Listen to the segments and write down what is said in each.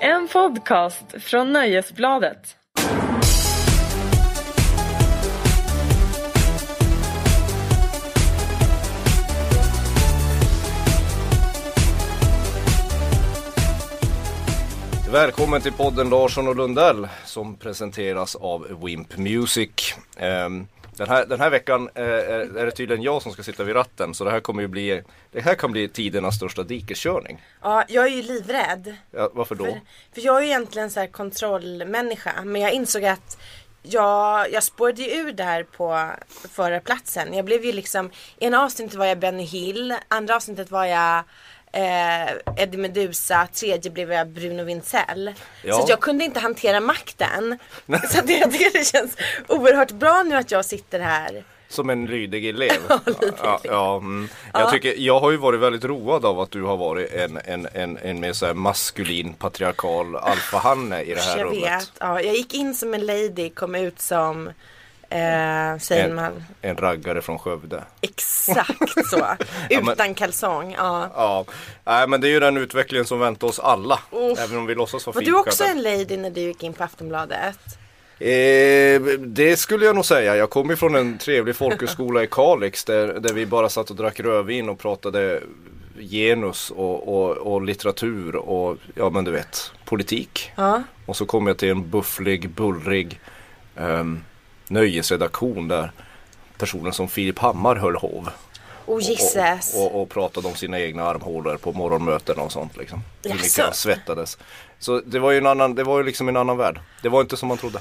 En podcast från Nöjesbladet. Välkommen till podden Larsson och Lundell som presenteras av Wimp Music. Ehm, Den här, den här veckan eh, är är det tydligen jag som ska sitta vid ratten så det här kommer ju bli Det här kan bli tidernas största dikeskörning. Ja, jag är ju livrädd. Ja, varför då? För, för jag är ju egentligen så här kontrollmänniska. Men jag insåg att jag, jag spårade ju ur där på förarplatsen. Jag blev ju liksom, ena avsnittet var jag Benny Hill, andra avsnittet var jag eh, Eddie Meduza, tredje blev jag Bruno Vincell. Ja. Så att jag kunde inte hantera makten. så att jag tycker det känns oerhört bra nu att jag sitter här. Som en lydig elev. ja, ja, mm. jag, tycker, jag har ju varit väldigt road av att du har varit en, en, en, en mer så här maskulin patriarkal alfahanne i det här jag rummet. vet. Ja, jag gick in som en lady, kom ut som, eh, säger man, En, en raggare från Skövde. Exakt så. men- Utan kalsong. Ja. Ja, nej men det är ju den utvecklingen som väntar oss alla. Uff. Även om vi låtsas vara Var du också finklädda. en lady när du gick in på Aftonbladet? Eh, det skulle jag nog säga. Jag kom ifrån en trevlig folkhögskola i Kalix där, där vi bara satt och drack rödvin och pratade genus och, och, och litteratur och ja men du vet politik. Ja. Och så kom jag till en bufflig, bullrig ehm, nöjesredaktion där personer som Filip Hammar höll hov. Oh jisses. Och, och, och pratade om sina egna armhålor på morgonmöten och sånt liksom. Hur mycket Jaså? han svettades. Så det var ju en annan, det var ju liksom en annan värld. Det var inte som man trodde.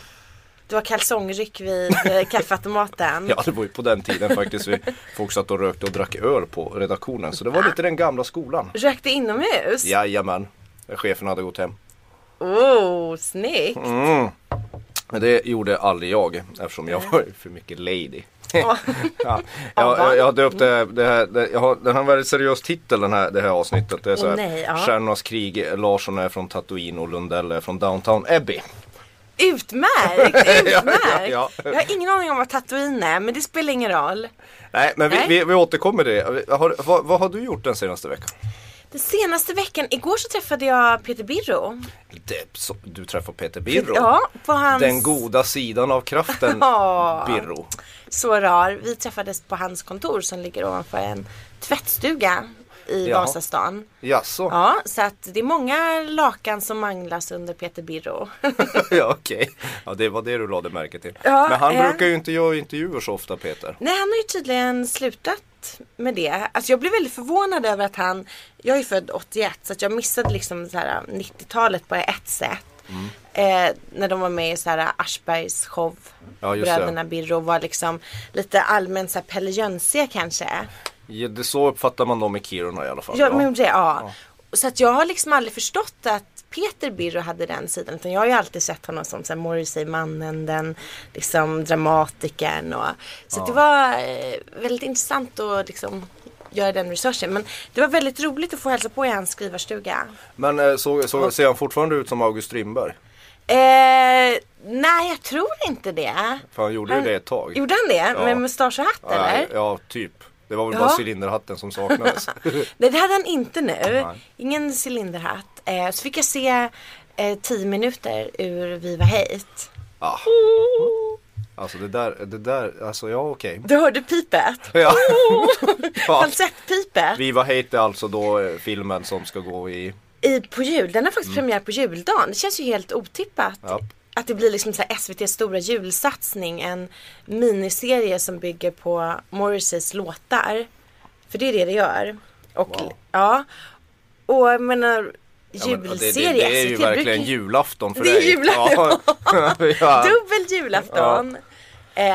Du har kalsongryck vid eh, kaffeautomaten. Ja det var ju på den tiden faktiskt vi folk satt och rökte och drack öl på redaktionen. Så det var lite den gamla skolan. Rökte inomhus? Jajamän, chefen hade gått hem. Oh, snyggt. Mm. Men det gjorde aldrig jag eftersom jag var för mycket lady. Ja. Mm. Ja, jag, jag, jag har döpt det, det här, det, jag har, den har en väldigt seriös titel den här, det här avsnittet. Det är så här, Åh, nej, ja. Stjärnornas krig, Larsson är från Tatooine och Lundell är från Downtown Abbey. Utmärkt, utmärkt. ja, ja. Jag har ingen aning om vad Tatooine är men det spelar ingen roll. Nej men vi, Nej. Vi, vi återkommer till det. Har, vad, vad har du gjort den senaste veckan? Den senaste veckan, igår så träffade jag Peter Birro. Det, så, du träffar Peter Birro. Ja, på hans... Den goda sidan av kraften Ja. Birro. så rar. Vi träffades på hans kontor som ligger ovanför en tvättstuga i Jaha. Vasastan. Jaså? Ja, Ja, så att det är många lakan som manglas under Peter Birro. ja okej. Ja det var det du lade märke till. Ja, men han eh. brukar ju inte göra intervjuer så ofta Peter. Nej, han har ju tydligen slutat med det. Alltså jag blev väldigt förvånad över att han, jag är född 81 så att jag missade liksom så här 90-talet på ett sätt. Mm. Eh, när de var med i så här äh, Aschbergs show. Ja, just det. Bröderna Birro var liksom lite allmänt så här Pelle Jönsiga kanske. Ja, det, så uppfattar man dem i Kiruna i alla fall. Ja, men det, ja. Så att jag har liksom aldrig förstått att Peter Birro hade den sidan. Utan jag har ju alltid sett honom som så här Morrissey-mannen, den liksom dramatikern och Så att det var eh, väldigt intressant att liksom göra den researchen. Men det var väldigt roligt att få hälsa på i hans skrivarstuga. Men eh, så, så ser han fortfarande ut som August Strindberg? Eh, nej, jag tror inte det. För han gjorde ju det ett tag. Gjorde han det? Ja. Med mustasch och hatt eller? Ja, ja, typ. Det var väl Ja. bara cylinderhatten som saknades. Nej det hade han inte nu. Nej. Ingen cylinderhatt. Eh, så fick jag se eh, 10 minuter ur Viva Hate. ah. Oh. Alltså det där, det där, alltså ja okej. Du hörde pipet? Ja. ja. Alltså- Falsettpipet Viva Hate är alltså då eh, filmen som ska gå i i, på jul. Den har faktiskt premiär på juldagen. Det känns ju helt otippat. Mm. Ja. Att det blir liksom så här SVTs stora julsatsning. En miniserie som bygger på Morrisseys låtar. För det är det det gör. Och Wow. ja. Och jag menar Ja, men, och julserie. alltså, Det, det, det är ju SVT brukar verkligen julafton för Det är dig. julafton. Ja. ja. Dubbel julafton. Eh,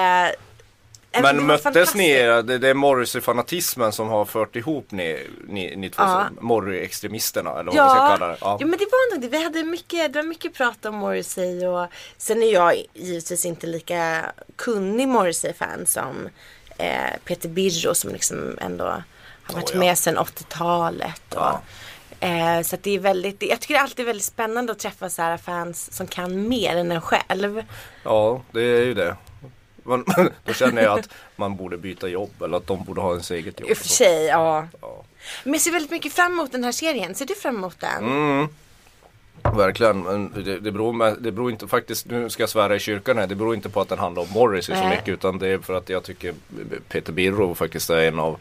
det var Men möttes ni, fantastiskt. det, det är Morrissey-fanatismen som har fört ihop ni, ni, ni två, Ja. Morry-extremisterna eller vad man ska Ja, kalla det. ja. Ja. men det var nog det. Vi hade mycket, det var mycket prat om Morrissey och sen är jag givetvis inte lika kunnig Morrissey-fan som eh, Peter Birro som liksom ändå har varit Åh, ja. med sedan 80-talet. Och, Ja. eh, så att det är väldigt, jag tycker det är alltid väldigt spännande att träffa så här fans som kan mer än en själv. ja, det är ju det. Men, då känner jag att man borde byta jobb eller att de borde ha ens eget jobb. I och för sig, ja. Ja. Men jag ser väldigt mycket fram emot den här serien. Ser du fram emot den? Verkligen, men det, det, beror med, det beror inte faktiskt, nu ska jag svära i kyrkan här, det beror inte på att den handlar om Morrissey så Nej. mycket utan det är för att jag tycker Peter Birro faktiskt är en av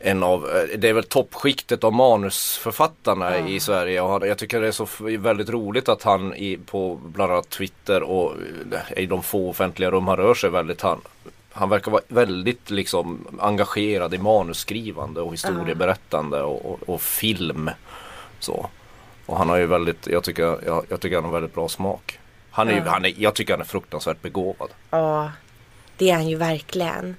en av, eh, det är väl toppskiktet av manusförfattarna i Sverige och han, jag tycker det är så f- väldigt roligt att han i, på bland annat Twitter och eh, i de få offentliga rum han rör sig väldigt han, han verkar vara väldigt liksom engagerad i manusskrivande och historieberättande och, och, och film. Så. Och han har ju väldigt, jag tycker, jag, jag tycker han har väldigt bra smak. Han är, ju- han är, jag tycker han är fruktansvärt begåvad. Ja, det är han ju verkligen.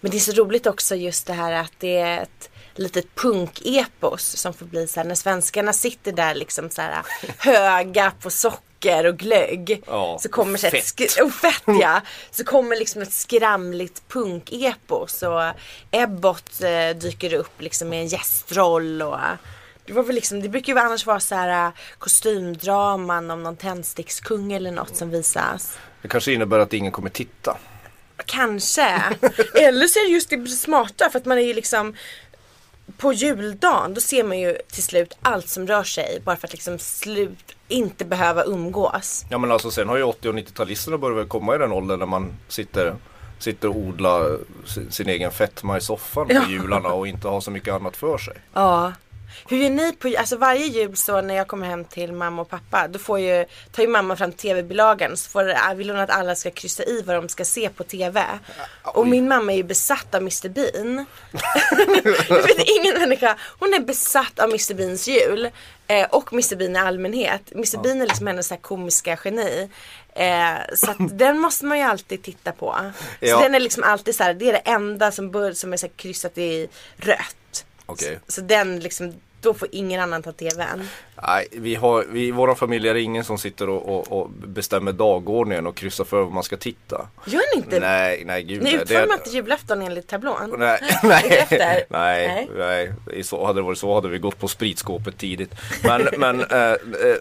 Men det är så roligt också just det här att det är ett litet punkepos som får bli så här när svenskarna sitter där liksom så här höga på socker och glögg. Ja, så kommer så ett fett. sk- och fett ja. Så kommer liksom ett skramligt punkepos och Ebbot eh, dyker upp liksom med en gästroll och det var väl liksom, det brukar ju annars vara så här eh, kostymdraman om någon tändstickskung eller något som visas. Det kanske innebär att ingen kommer titta. Kanske. Eller så är det just det smarta för att man är ju liksom på juldagen då ser man ju till slut allt som rör sig bara för att liksom slut inte behöva umgås. Ja men alltså sen har ju 80 och 90-talisterna börjat väl komma i den åldern när man sitter, sitter och odlar sin, sin egen fetma i soffan på Ja. jularna och inte har så mycket annat för sig. Ja. Hur gör ni på alltså varje jul så när jag kommer hem till mamma och pappa då får ju, tar ju mamma fram tv-bilagan så får, äh, vill hon att alla ska kryssa i vad de ska se på tv. Och min mamma är ju besatt av Mr Bean. Jag vet ingen människa, hon är besatt av Mr Beans jul. Eh, och Mr Bean i allmänhet. Mr Bean är liksom hennes så här komiska geni. Eh, så att den måste man ju alltid titta på. Ja. Så den är liksom alltid så här, det är det enda som, bör, som är så här kryssat i rött. Okej. Så, så den liksom, då får ingen annan ta tvn. Nej, vi har, vi, i våran familj är det ingen som sitter och, och, och bestämmer dagordningen och kryssar för vad man ska titta. Gör ni inte? Nej, nej gud. Ni det- utformar det- inte julafton enligt tablån? Nej, efter? nej, nej, Nej. nej. I Så, hade det varit så hade vi gått på spritskåpet tidigt. Men, men eh, eh,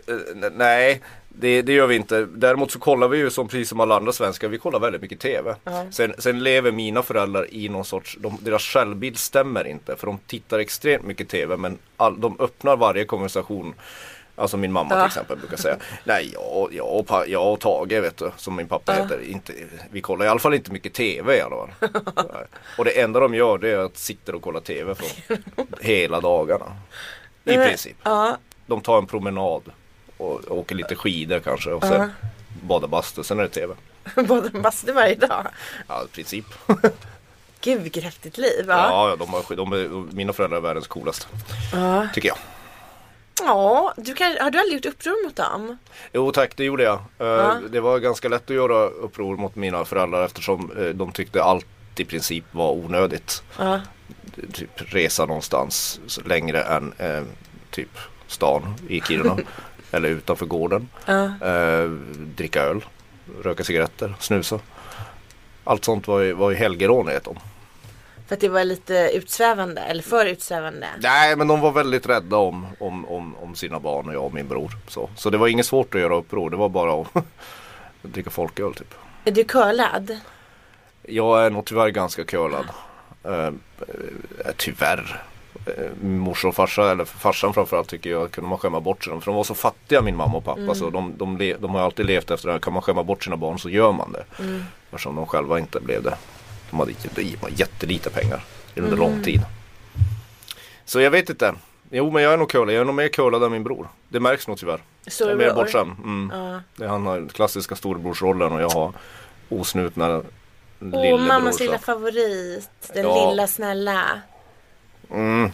eh, nej, det, det gör vi inte. Däremot så kollar vi ju som precis som alla andra svenskar, vi kollar väldigt mycket TV. Sen, sen lever mina föräldrar i någon sorts, de, deras självbild stämmer inte för de tittar extremt mycket TV men all, de öppnar varje konversation Alltså min mamma till Ja. exempel brukar säga Nej jag, jag, och, pa- jag och Tage vet du Som min pappa heter inte, Vi kollar i alla fall inte mycket TV i alla fall. Nej. Och det enda de gör det är att sitta och kolla TV från hela dagarna I princip Eh, Ja, De tar en promenad Och åker lite skidor kanske och sen badar bastu, sen är det TV båda bastu varje dag. Ja i princip Gud vilket häftigt liv. Ja. Ja, ja de har, de är, mina föräldrar är världens coolaste Tycker jag ja du kan, har du aldrig gjort uppror mot dem? Jo tack, det gjorde jag. Eh, Det var ganska lätt att göra uppror mot mina föräldrar eftersom eh, de tyckte allt i princip var onödigt. Ja. Typ resa någonstans s- längre än eh, typ stan i Kiruna eller utanför gården. Ja. Eh, dricka öl, röka cigaretter, snusa. Allt sånt var ju, var ju helgerån enligt dem. För att det var lite utsvävande, eller för utsvävande. Nej men de var väldigt rädda om, om, om, om sina barn och jag och min bror. Så, så det var inget svårt att göra uppror, det var bara att dricka folköl typ. Är du curlad? Jag är nog tyvärr ganska curlad. Eh, eh, tyvärr. Eh, min morsa och farsa, eller farsan framförallt tycker jag kunde man skämma bort sig. dem. För de var så fattiga min mamma och pappa så de, de, le- de har alltid levt efter det här. Kan man skämma bort sina barn så gör man det. Eftersom de själva inte blev det. De hade, de hade jättelite pengar under lång tid. Så jag vet inte. Jo men jag är nog curlad. Jag är nog mer curlad än min bror. Det märks nog tyvärr. Jag är mer bortskämd. Mm. Ja. Det- Han har den klassiska storebrorsrollen och jag har osnutna Åh, lillebrorsan. mammas lilla favorit. Den Ja. lilla snälla. mm.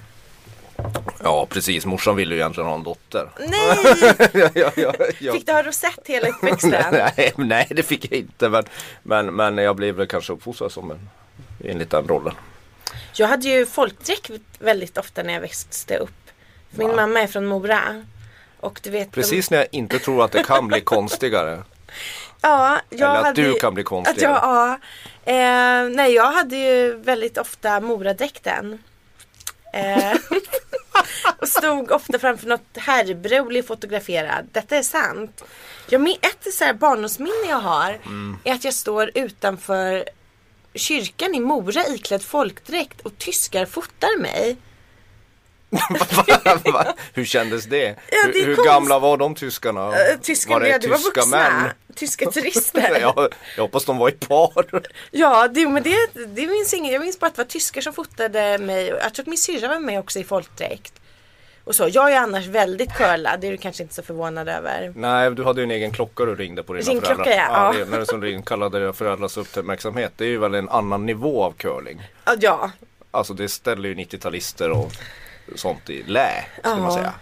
Ja precis, morsan ville ju egentligen ha en dotter. Nej! ja, ja, ja, ja. Fick du ha rosett hela uppväxten? nej, nej det fick jag inte men, men, men jag blev väl kanske uppfostrad som en enligt den rollen. jag hade ju folkdräkt väldigt ofta när jag växte upp. Min Va? mamma är från Mora. Och du vet, de- Precis när jag inte tror att det kan bli konstigare. Ja, jag Eller att hade, du kan bli konstigare. Att jag, ja, eh, nej, jag hade ju väldigt ofta Moradräkten. Eh, och stod ofta framför något herrbre och blev fotograferad. Detta är sant. Jag min, ett så här barndomsminne jag har Mm. är att jag står utanför kyrkan i Mora iklädd folkdräkt och tyskar fotar mig. Va? Va? Hur kändes det? Ja, det är hur, hur konst- gamla var de tyskarna? Eh, Tyskarna, var det ja, det var tyska vuxna. män? Tyska turister. ja, Jag, jag hoppas de var i par. det, men det, det minns ingen. Jag minns bara att det var tyskar som fotade mig. Jag tror att min syrra var med också i folkdräkt. Och så. Jag är annars väldigt curlad. Det är du kanske inte så förvånad över. Nej, du hade ju en egen klocka du ringde på dina Ringklocka, föräldrar. ja. det är när du som ring kallade dina föräldrars uppmärksamhet. Det är ju väl en annan nivå av curling. Ja, Ja, Alltså det ställer ju 90-talister och sånt i lä, ska man Ja. säga.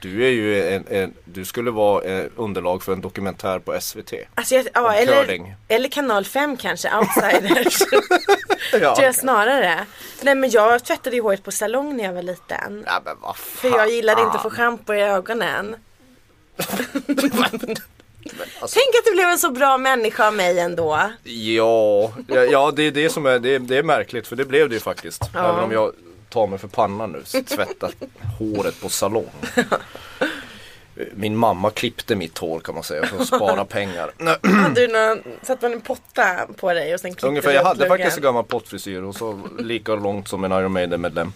Du är ju en, en du skulle vara eh, underlag för en dokumentär på SVT. alltså jag, ja Om eller, curling. eller kanal 5 kanske, outsiders. Ja, tror jag snarare. Nej men jag tvättade ju håret på salong när jag var liten. ja men vad För fan. jag gillade inte att få schampo i ögonen. Alltså, Tänk att du blev en så bra människa av mig ändå. Ja, ja, ja det är det som är, det är, det är märkligt för det blev det ju faktiskt. Ja. Även om jag tar mig för pannan nu, tvättat håret på salong. Min mamma klippte mitt hår kan man säga för att spara pengar. Hade du någon, satte man en potta på dig och sen klippte Mm. Ungefär, du jag upp hade luggen? faktiskt en gammal pottfrisyr och så lika långt som en Iron Maiden medlem.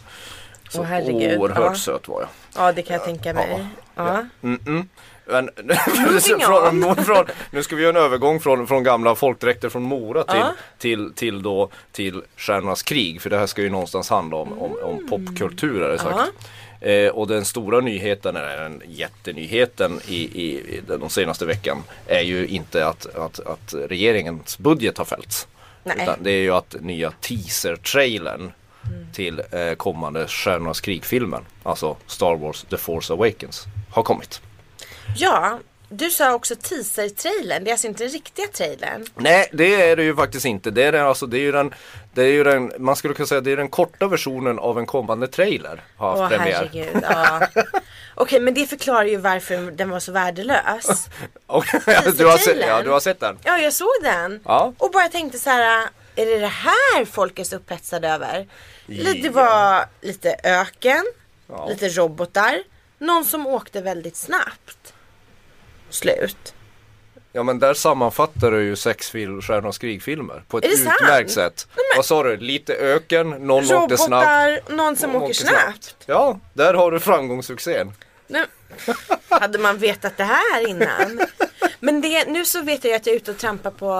Så Åh, herregud, oerhört ja. söt var jag. Ja det kan jag tänka mig. Ja. Mm-mm. Men, Moving från, från, nu ska vi göra en övergång från, från gamla folkdräkter från Mora till, Ja. till, till, då, till Stjärnornas krig. För det här ska ju någonstans handla om, om, om popkultur är det sagt. Eh, och den stora nyheten, eller den jättenyheten i, i, i den- de senaste veckan är ju inte att, att, att regeringens budget har fällts. Nej. Utan det är ju att nya teaser-trailern Mm. till eh, kommande Stjärnornas krig-filmen, alltså Star Wars The Force Awakens, har kommit. ja, du sa också teaser-trailern. Det är alltså inte den riktiga trailern. Nej det är det ju faktiskt inte. Det är, den, alltså, det är ju den, det är ju den, man skulle kunna säga det är den korta versionen av en kommande trailer. Har haft Åh premiär. herregud. Ja. Okej men det förklarar ju varför den var så värdelös. Och, Alltså, du, har sett, ja, Teaser-trailern. du har sett den? Ja jag såg den. Ja. Och bara tänkte så här. Är det det här folk är så upphetsade över? Lite- Det Ja. var lite öken. Ja. Lite robotar. Någon som åkte väldigt snabbt. Slut. Ja men där sammanfattar du ju sex fil- Stjärnornas krig-filmer på ett Är det sant? utmärkt sätt. Vad sa du? Lite öken, någon åkte snabbt. Robotar, någon som någon åker åkte snabbt. Ja, där har du framgångssuccén. Nu, hade man vetat det här innan? Men det, nu så vet jag att jag är ute och trampar på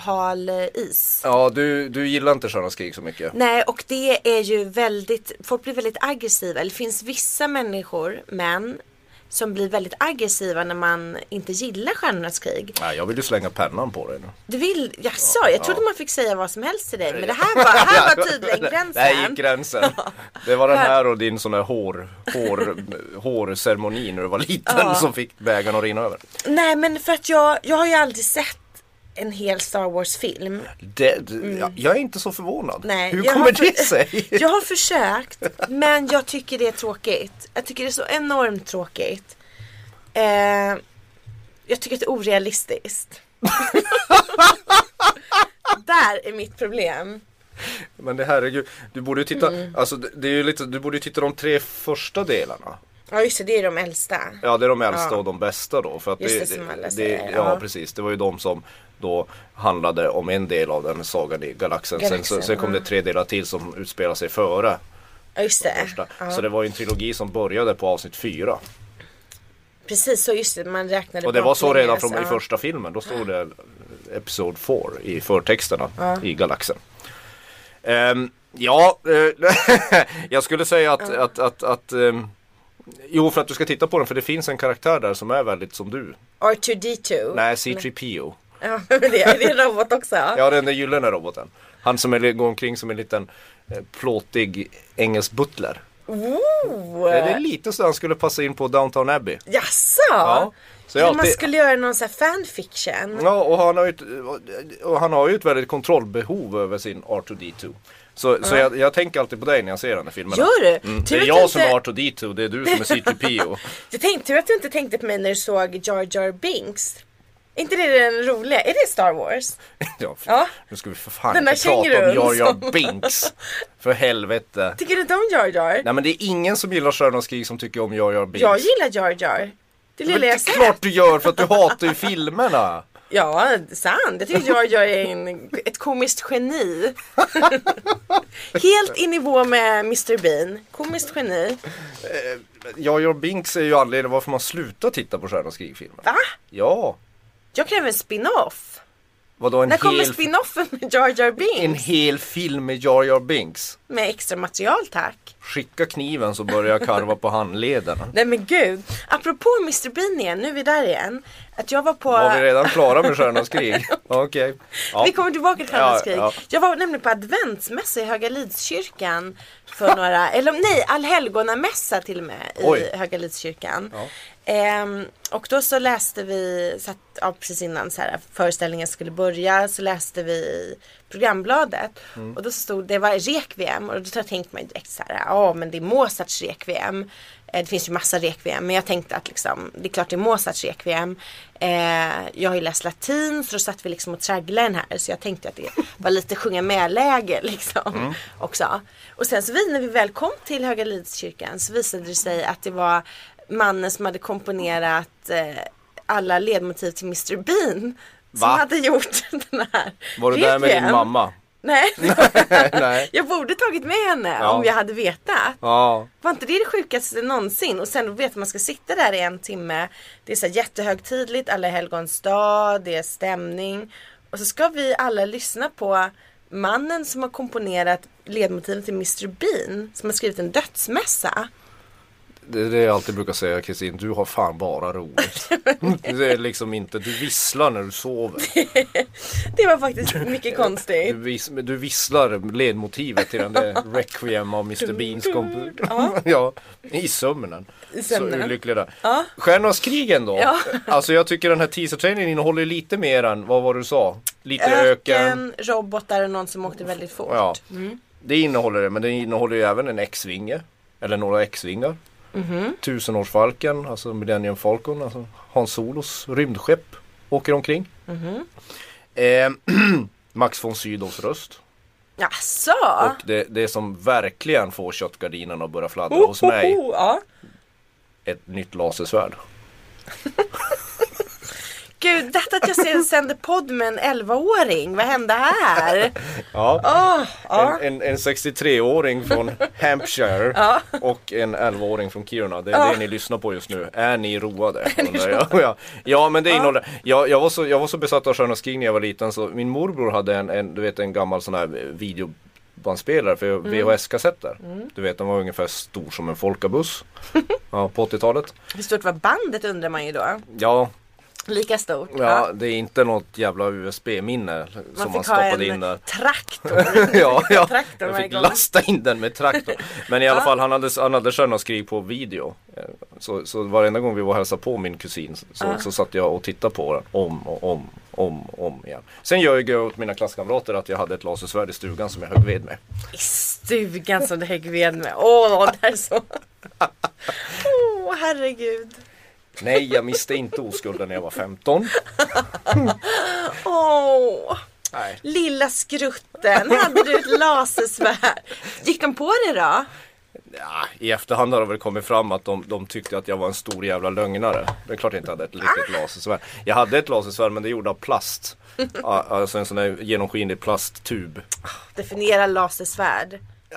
hal is. Ja, du, du gillar inte Stjärnornas krig så mycket. Nej och det är ju väldigt, folk blir väldigt aggressiva. Eller Det finns vissa människor, män, som blir väldigt aggressiva när man inte gillar Stjärnornas krig. Nej, jag vill ju slänga pennan på dig nu. Du vill, jaså, jag trodde Ja. man fick säga vad som helst till dig. Men det här var, här var tydligen gränsen. Där gick gränsen. Det var den här och din sån där hår, hår, hårceremoni när du var liten Ja. som fick bägaren att rinna över. Nej men för att jag, jag har ju aldrig sett en hel Star Wars film. Det, det- jag, jag är inte så förvånad. Mm. Nej, Hur jag kommer har för- det sig? Jag har försökt men jag tycker det är tråkigt. Jag tycker det är så enormt tråkigt. Eh, jag tycker att det är orealistiskt. Där är mitt problem. Men det herregud, du borde ju titta, Mm. alltså det, det är ju lite, du borde ju titta de tre första delarna. Ja just det, det är de äldsta. Ja det är de äldsta Ja. och de bästa då. För att Just det, som alla det, säger, ja, ja. precis, det var ju de som då handlade om en del av den sagan i galaxen. sen, Galaxen, sen kom det tre delar till som utspelar sig före Ja just det. första. Så Ja. det var ju en trilogi som började på avsnitt fyra. Precis så, just det, man räknade Och det var så baklänges, redan från i ja. första filmen. Då stod det Episod 4 i förtexterna i Galaxen. Ehm, ja, eh, jag skulle säga att, att, att, att ehm, Jo, för att du ska titta på den för det finns en karaktär där som är väldigt som du. R2D2. Nej, C3PO. Ja, men det är det är en robot också. Ja, den där gyllene roboten. Han som är, går omkring som en liten eh, plåtig engelsk butler. Ooh. Det är lite så han skulle passa in på Downton Abbey. Jaså? Ja, så jag Men man alltid- skulle göra någon sån här fanfiction. Ja, och han, har ju ett, och han har ju ett väldigt kontrollbehov över sin R2D2. Så, så jag, jag tänker alltid på dig när jag ser den här filmen. Gör du? Mm. Det Tur är att jag du som inte- är R2D2, det är du som är C3PO. Jag tänkte tur att du inte tänkte på mig när du såg Jar Jar Binks. Är inte det den roliga? Är det Star Wars? ja, för- Ja. Nu ska vi för fan Den där inte prata om kängurun Jar Jar som- Binks. För helvete. Tycker du inte om Jar Jar? Nej men det är ingen som gillar Stjärnornas krig som tycker om Jar Jar Binks. jag gillar Jar Jar. Det Men lilla det jag är sett. klart du gör för att du hatar ju filmerna. Ja, sant. Jag tycker George är en, ett komiskt geni. Helt i nivå med Mr Bean. Komiskt geni. Ja, Your Binks är ju anledningen varför man slutar titta på Stjärnornas krig-filmen. Va? Ja, Jag kräver en spin-off. vadå en När kommer hel, spin-offen med Jar Jar en Binks? hel film med Jar Jar Binks? Med extra material tack. Skicka kniven så börjar jag karva på handlederna. Nej men gud. Apropå Mr Bean igen, nu är vi där igen. Att jag var på... Var vi redan klara med Stjärnornas krig? Okej. Ja. Vi kommer tillbaka till Stjärnornas Ja, krig. ja. Jag var nämligen på adventsmässa i Högalidskyrkan för några, eller nej, allhelgonamässa till och med Oj. i Högalidskyrkan. Ja. Ehm, och då så läste vi, så att, ja, precis innan så här, föreställningen skulle börja så läste vi i programbladet Mm. och då stod det var rekviem och då tänkte man ju direkt så här, ja men det är Mozarts rekviem. Eh, Det finns ju massa rekviem men jag tänkte att liksom, det är klart det är Mozarts rekviem. Eh, jag har ju läst latin så då satt vi liksom och tragglade den här så jag tänkte att det var lite sjunga med-läge liksom Mm. också. Och sen så vi när vi väl kom till Höga Lidskyrkan så visade det sig att det var mannen som hade komponerat eh, alla ledmotiv till Mr Bean. Som Va? hade gjort den här Var du där med din Requiem. mamma? Nej, det var jag inte. Nej. jag borde tagit med henne Ja. om jag hade vetat. Ja. Var inte det det sjukaste någonsin? Och sen då vet man man ska sitta där i en timme. Det är så här jättehögtidligt, alla helgons dag, det är stämning. Och så ska vi alla lyssna på mannen som har komponerat ledmotivet till Mr Bean. Som har skrivit en dödsmässa. Det är det jag alltid brukar säga Kristin, du har fan bara roligt. Det är liksom inte, du visslar när du sover. Det var faktiskt mycket konstigt. Du, vis, du visslar ledmotivet till den där Requiem av Mr Beans komp- Ja. ja, i sömnen. I Så sömnen. olycklig där. Ja. Stjärnornas krig ändå. Ja. Alltså jag tycker den här teasertrailern innehåller ju lite mer än, vad var det du sa? Lite öken. Öken, robotar och någon som åkte väldigt fort. Ja. Det innehåller det, men det innehåller ju även en X-vinge. Eller några X-vingar. Tusenårsfalken, alltså Millennium Falcon, alltså Hans Solos rymdskepp åker omkring. Eh, Max von Sydows röst. Jaså? Och det, det som verkligen får köttgardinerna att börja fladdra Oh, Ho, hos ho, mig, ho, ja. ett nytt lasersvärd. Gud, detta att jag ser sänder podd med en 11-åring. Vad hände här? Ja. Åh, ja. En, en, en 63-åring från Hampshire och en 11-åring från Kiruna. Det är det ni lyssnar på just nu. Är ni roade? undrar jag. ja. ja men det innehåller. Jag, jag, var så, jag var så besatt av Stjärnornas krig när jag var liten så min morbror hade en, en, du vet, en gammal sån här videobandspelare för VHS-kassetter. Du vet den var ungefär stor som en folkabuss. ja, på 80-talet. Hur stort var bandet undrar man ju då. Ja, Lika stort. Ja, det är inte något jävla USB-minne som man stoppade in där. traktor. ja, ja. traktor jag varje fick gång. lasta in den med traktor. Men i alla fall, han hade, han hade Stjärnornas krig på video. Eh, Så, så varenda gång vi var och hälsade på min kusin så, så satt jag och tittade på den om och om, om, om igen. Sen gör jag åt mina klasskamrater att jag hade ett lasersvärd i stugan som jag högg ved med. I stugan som du högg ved med. Åh, där så. Åh, herregud. Nej, jag miste inte oskulden när jag var 15. Åh. Nej. Lilla skrutten, hade du ett lasersvärd? Gick de på det då? Ja, I efterhand har det väl kommit fram att de, de tyckte att jag var en stor jävla lögnare. Det är klart jag inte hade ett riktigt lasersvärd. Jag hade ett lasersvärd men det gjorde av plast. Ja, Alltså en sån där genomskinlig plasttub. Definiera lasersvärd.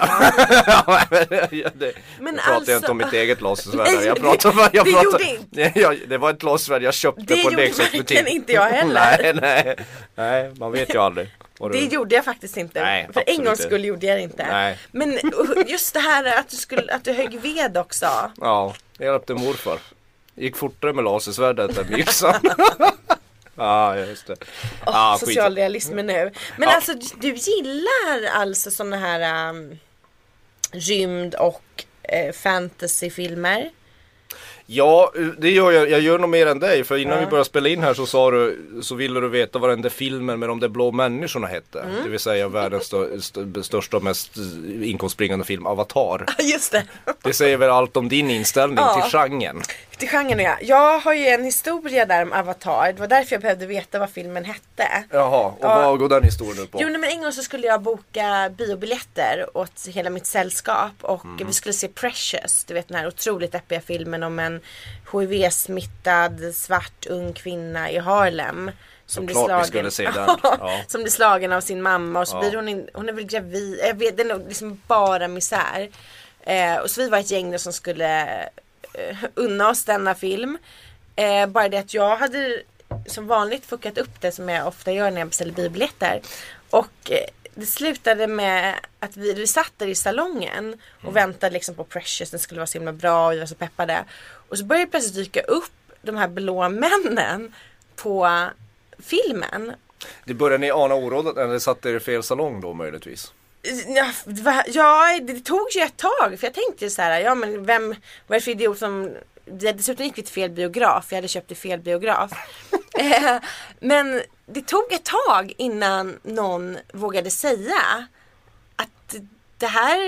Ja, men det, nu Men pratar alltså- jag inte om mitt eget lasersvärd. Nej, här. jag det- pratar, om- jag det pratar, gjorde inte- Nej, jag, det var ett lasersvärd jag köpte Det på en gjorde leksaksbutik. verkligen inte jag heller. nej, nej, nej, man vet ju aldrig. Vad Det du- gjorde jag faktiskt inte. Nej, För en absolut gångs inte. skull gjorde jag det inte. Nej. Men uh, just det här att du, skulle, att du högg ved också. Ja, jag hjälpte morfar. Gick fortare med lasersvärdet än med yxan. Ja, just det. Ah, Ja, skit. Socialrealismen nu. Men Ja. alltså du gillar alltså sådana här um, rymd och eh, fantasyfilmer. Ja, det gör jag. Jag gör nog mer än dig. För innan vi började spela in här så sa du, så ville du veta vad den där filmen med de där blå människorna hette. Mm. Det vill säga världens stö- st- största och mest inkomstbringande film, Avatar. Just det. Det säger väl allt om din inställning Ja. till genren. till genren och jag. Jag har ju en historia där om Avatar. Det var därför jag behövde veta vad filmen hette. Jaha, och Ja. vad går den historien ut på? Jo nej, men en gång så skulle jag boka biobiljetter åt hela mitt sällskap och vi skulle se Precious, du vet den här otroligt deppiga filmen om en HIV-smittad svart ung kvinna i Harlem. Som blir, Såklart slagen, vi skulle se den, ja. som blir slagen av sin mamma och så Ja. blir hon, in, hon är väl gravid, jag vet, det är nog liksom bara misär. Eh, och så vi var ett gäng då som skulle eh, unna oss denna film. Eh, bara det att jag hade som vanligt fuckat upp det som jag ofta gör när jag beställer biobiljetter. Och eh, det slutade med att vi, vi satt där i salongen och Mm. väntade liksom på Precious, den skulle vara så himla bra och vi var så peppade. Och så började det plötsligt dyka upp de här blå männen på filmen. Det började ni ana orådet eller satt er i fel salong då möjligtvis? Ja, va- Ja, det tog ju ett tag för jag tänkte ju så här, ja men vem, vad är det för idiot som det- Dessutom gick vi till fel biograf, jag hade köpt till fel biograf. Eh, men det tog ett tag innan någon vågade säga att det här,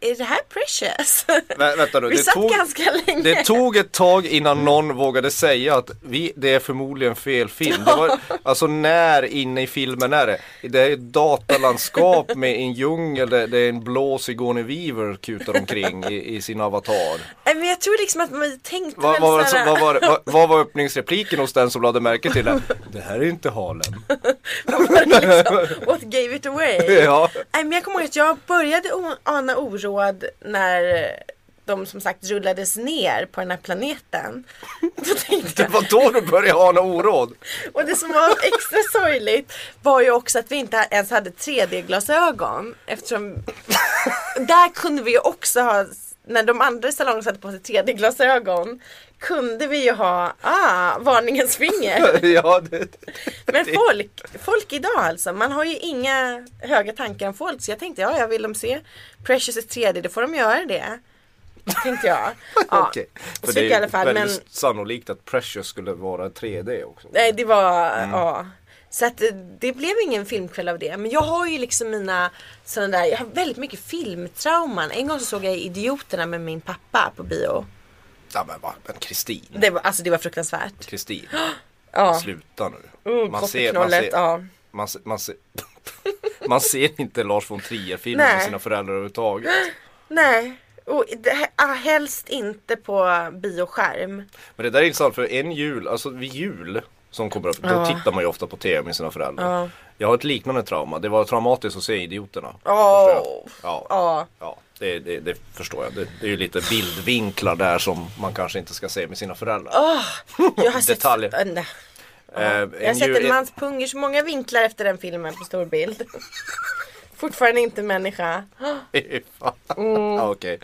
är det här precious? Vä vänta nu, vi det satt tog, ganska länge. det tog ett tag innan någon vågade säga att vi, det är förmodligen fel film. Det var, alltså när inne i filmen är det? Det är ett datalandskap med en djungel där det är en blå Sigourney Weaver kutar omkring i, i sin avatar. Nej, Men jag tror liksom att man tänkte Vad väl vad var, så det här, som- vad var, det- vad- vad var öppningsrepliken hos den som lade märke till det? Det här är inte Harlem. liksom, what gave it away? Ja. Nej men jag kommer ihåg att jag började o- ana oråd när de som sagt rullades ner på den här planeten. Då Det tänkte jag, var då du började ana oråd. och det som var extra sorgligt var ju också att vi inte ens hade 3D-glasögon eftersom där kunde vi ju också ha, när de andra i salongen satte på sig 3D-glasögon kunde vi ju ha, ah, varningens finger. Ja, det, Men folk, folk idag alltså, man har ju inga höga tankar om folk så jag tänkte ja, jag vill de se Precious i 3D, då får de göra det. Tänkte jag. Ja. Okej. så fick jag i alla fall, väldigt men- sannolikt att Precious skulle vara 3D också. Nej, det var, Mm. ja. Så att eh, det blev ingen filmkväll av det. Men jag har ju liksom mina sådana där, jag har väldigt mycket filmtrauman. En gång så såg jag Idioterna med min pappa på bio. Ja, men va, men Kristin. Det var, alltså det var fruktansvärt. Kristin, Ja. sluta nu. Uh, man, ser, man, ser, ja. man, ser, man, ser, man ser inte Lars von Trier-filmer med Nej. sina föräldrar överhuvudtaget. Nej, och det, ah, helst inte på bioskärm. Men det där är intressant för en jul, alltså vid jul som kommer upp, då Ja. tittar man ju ofta på tv med sina föräldrar. Ja. Jag har ett liknande trauma, det var traumatiskt att se Idioterna. Åh. Förstår jag. Ja, Ja. ja det, det, det förstår jag. Det, det är ju lite bildvinklar där som man kanske inte ska se med sina föräldrar. Ah, Jag har sett, Detaljer. Äh, nej. Eh, jag har sett jul- en mans pung ur så många vinklar efter den filmen på stor bild. Fortfarande inte människa. Fan. Ja, Okej.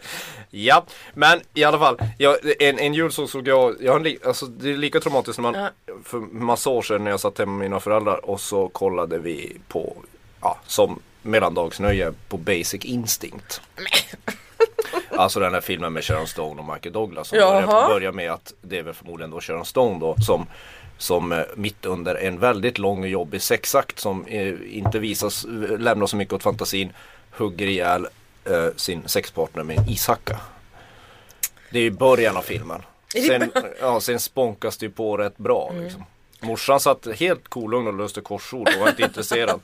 Ja, men i alla fall. Jag, en, en jul så såg jag, jag har en li, alltså, det är lika traumatiskt när man, för massa år sedan när jag satt hemma med mina föräldrar och så kollade vi på, ja, som mellandagsnöje på Basic Instinct. Alltså den här filmen med Sharon Stone och Michael Douglas som Jaha. börjar, börjar med att det är väl förmodligen då Sharon Stone då som som eh, mitt under en väldigt lång och jobbig sexakt som eh, inte visas, eh, lämnar så mycket åt fantasin hugger ihjäl eh, sin sexpartner med en ishacka. Det är ju början av filmen. Sen, ja, sen spånkas det ju på rätt bra liksom. Morsan satt helt kolugn och löste korsord och var inte intresserad.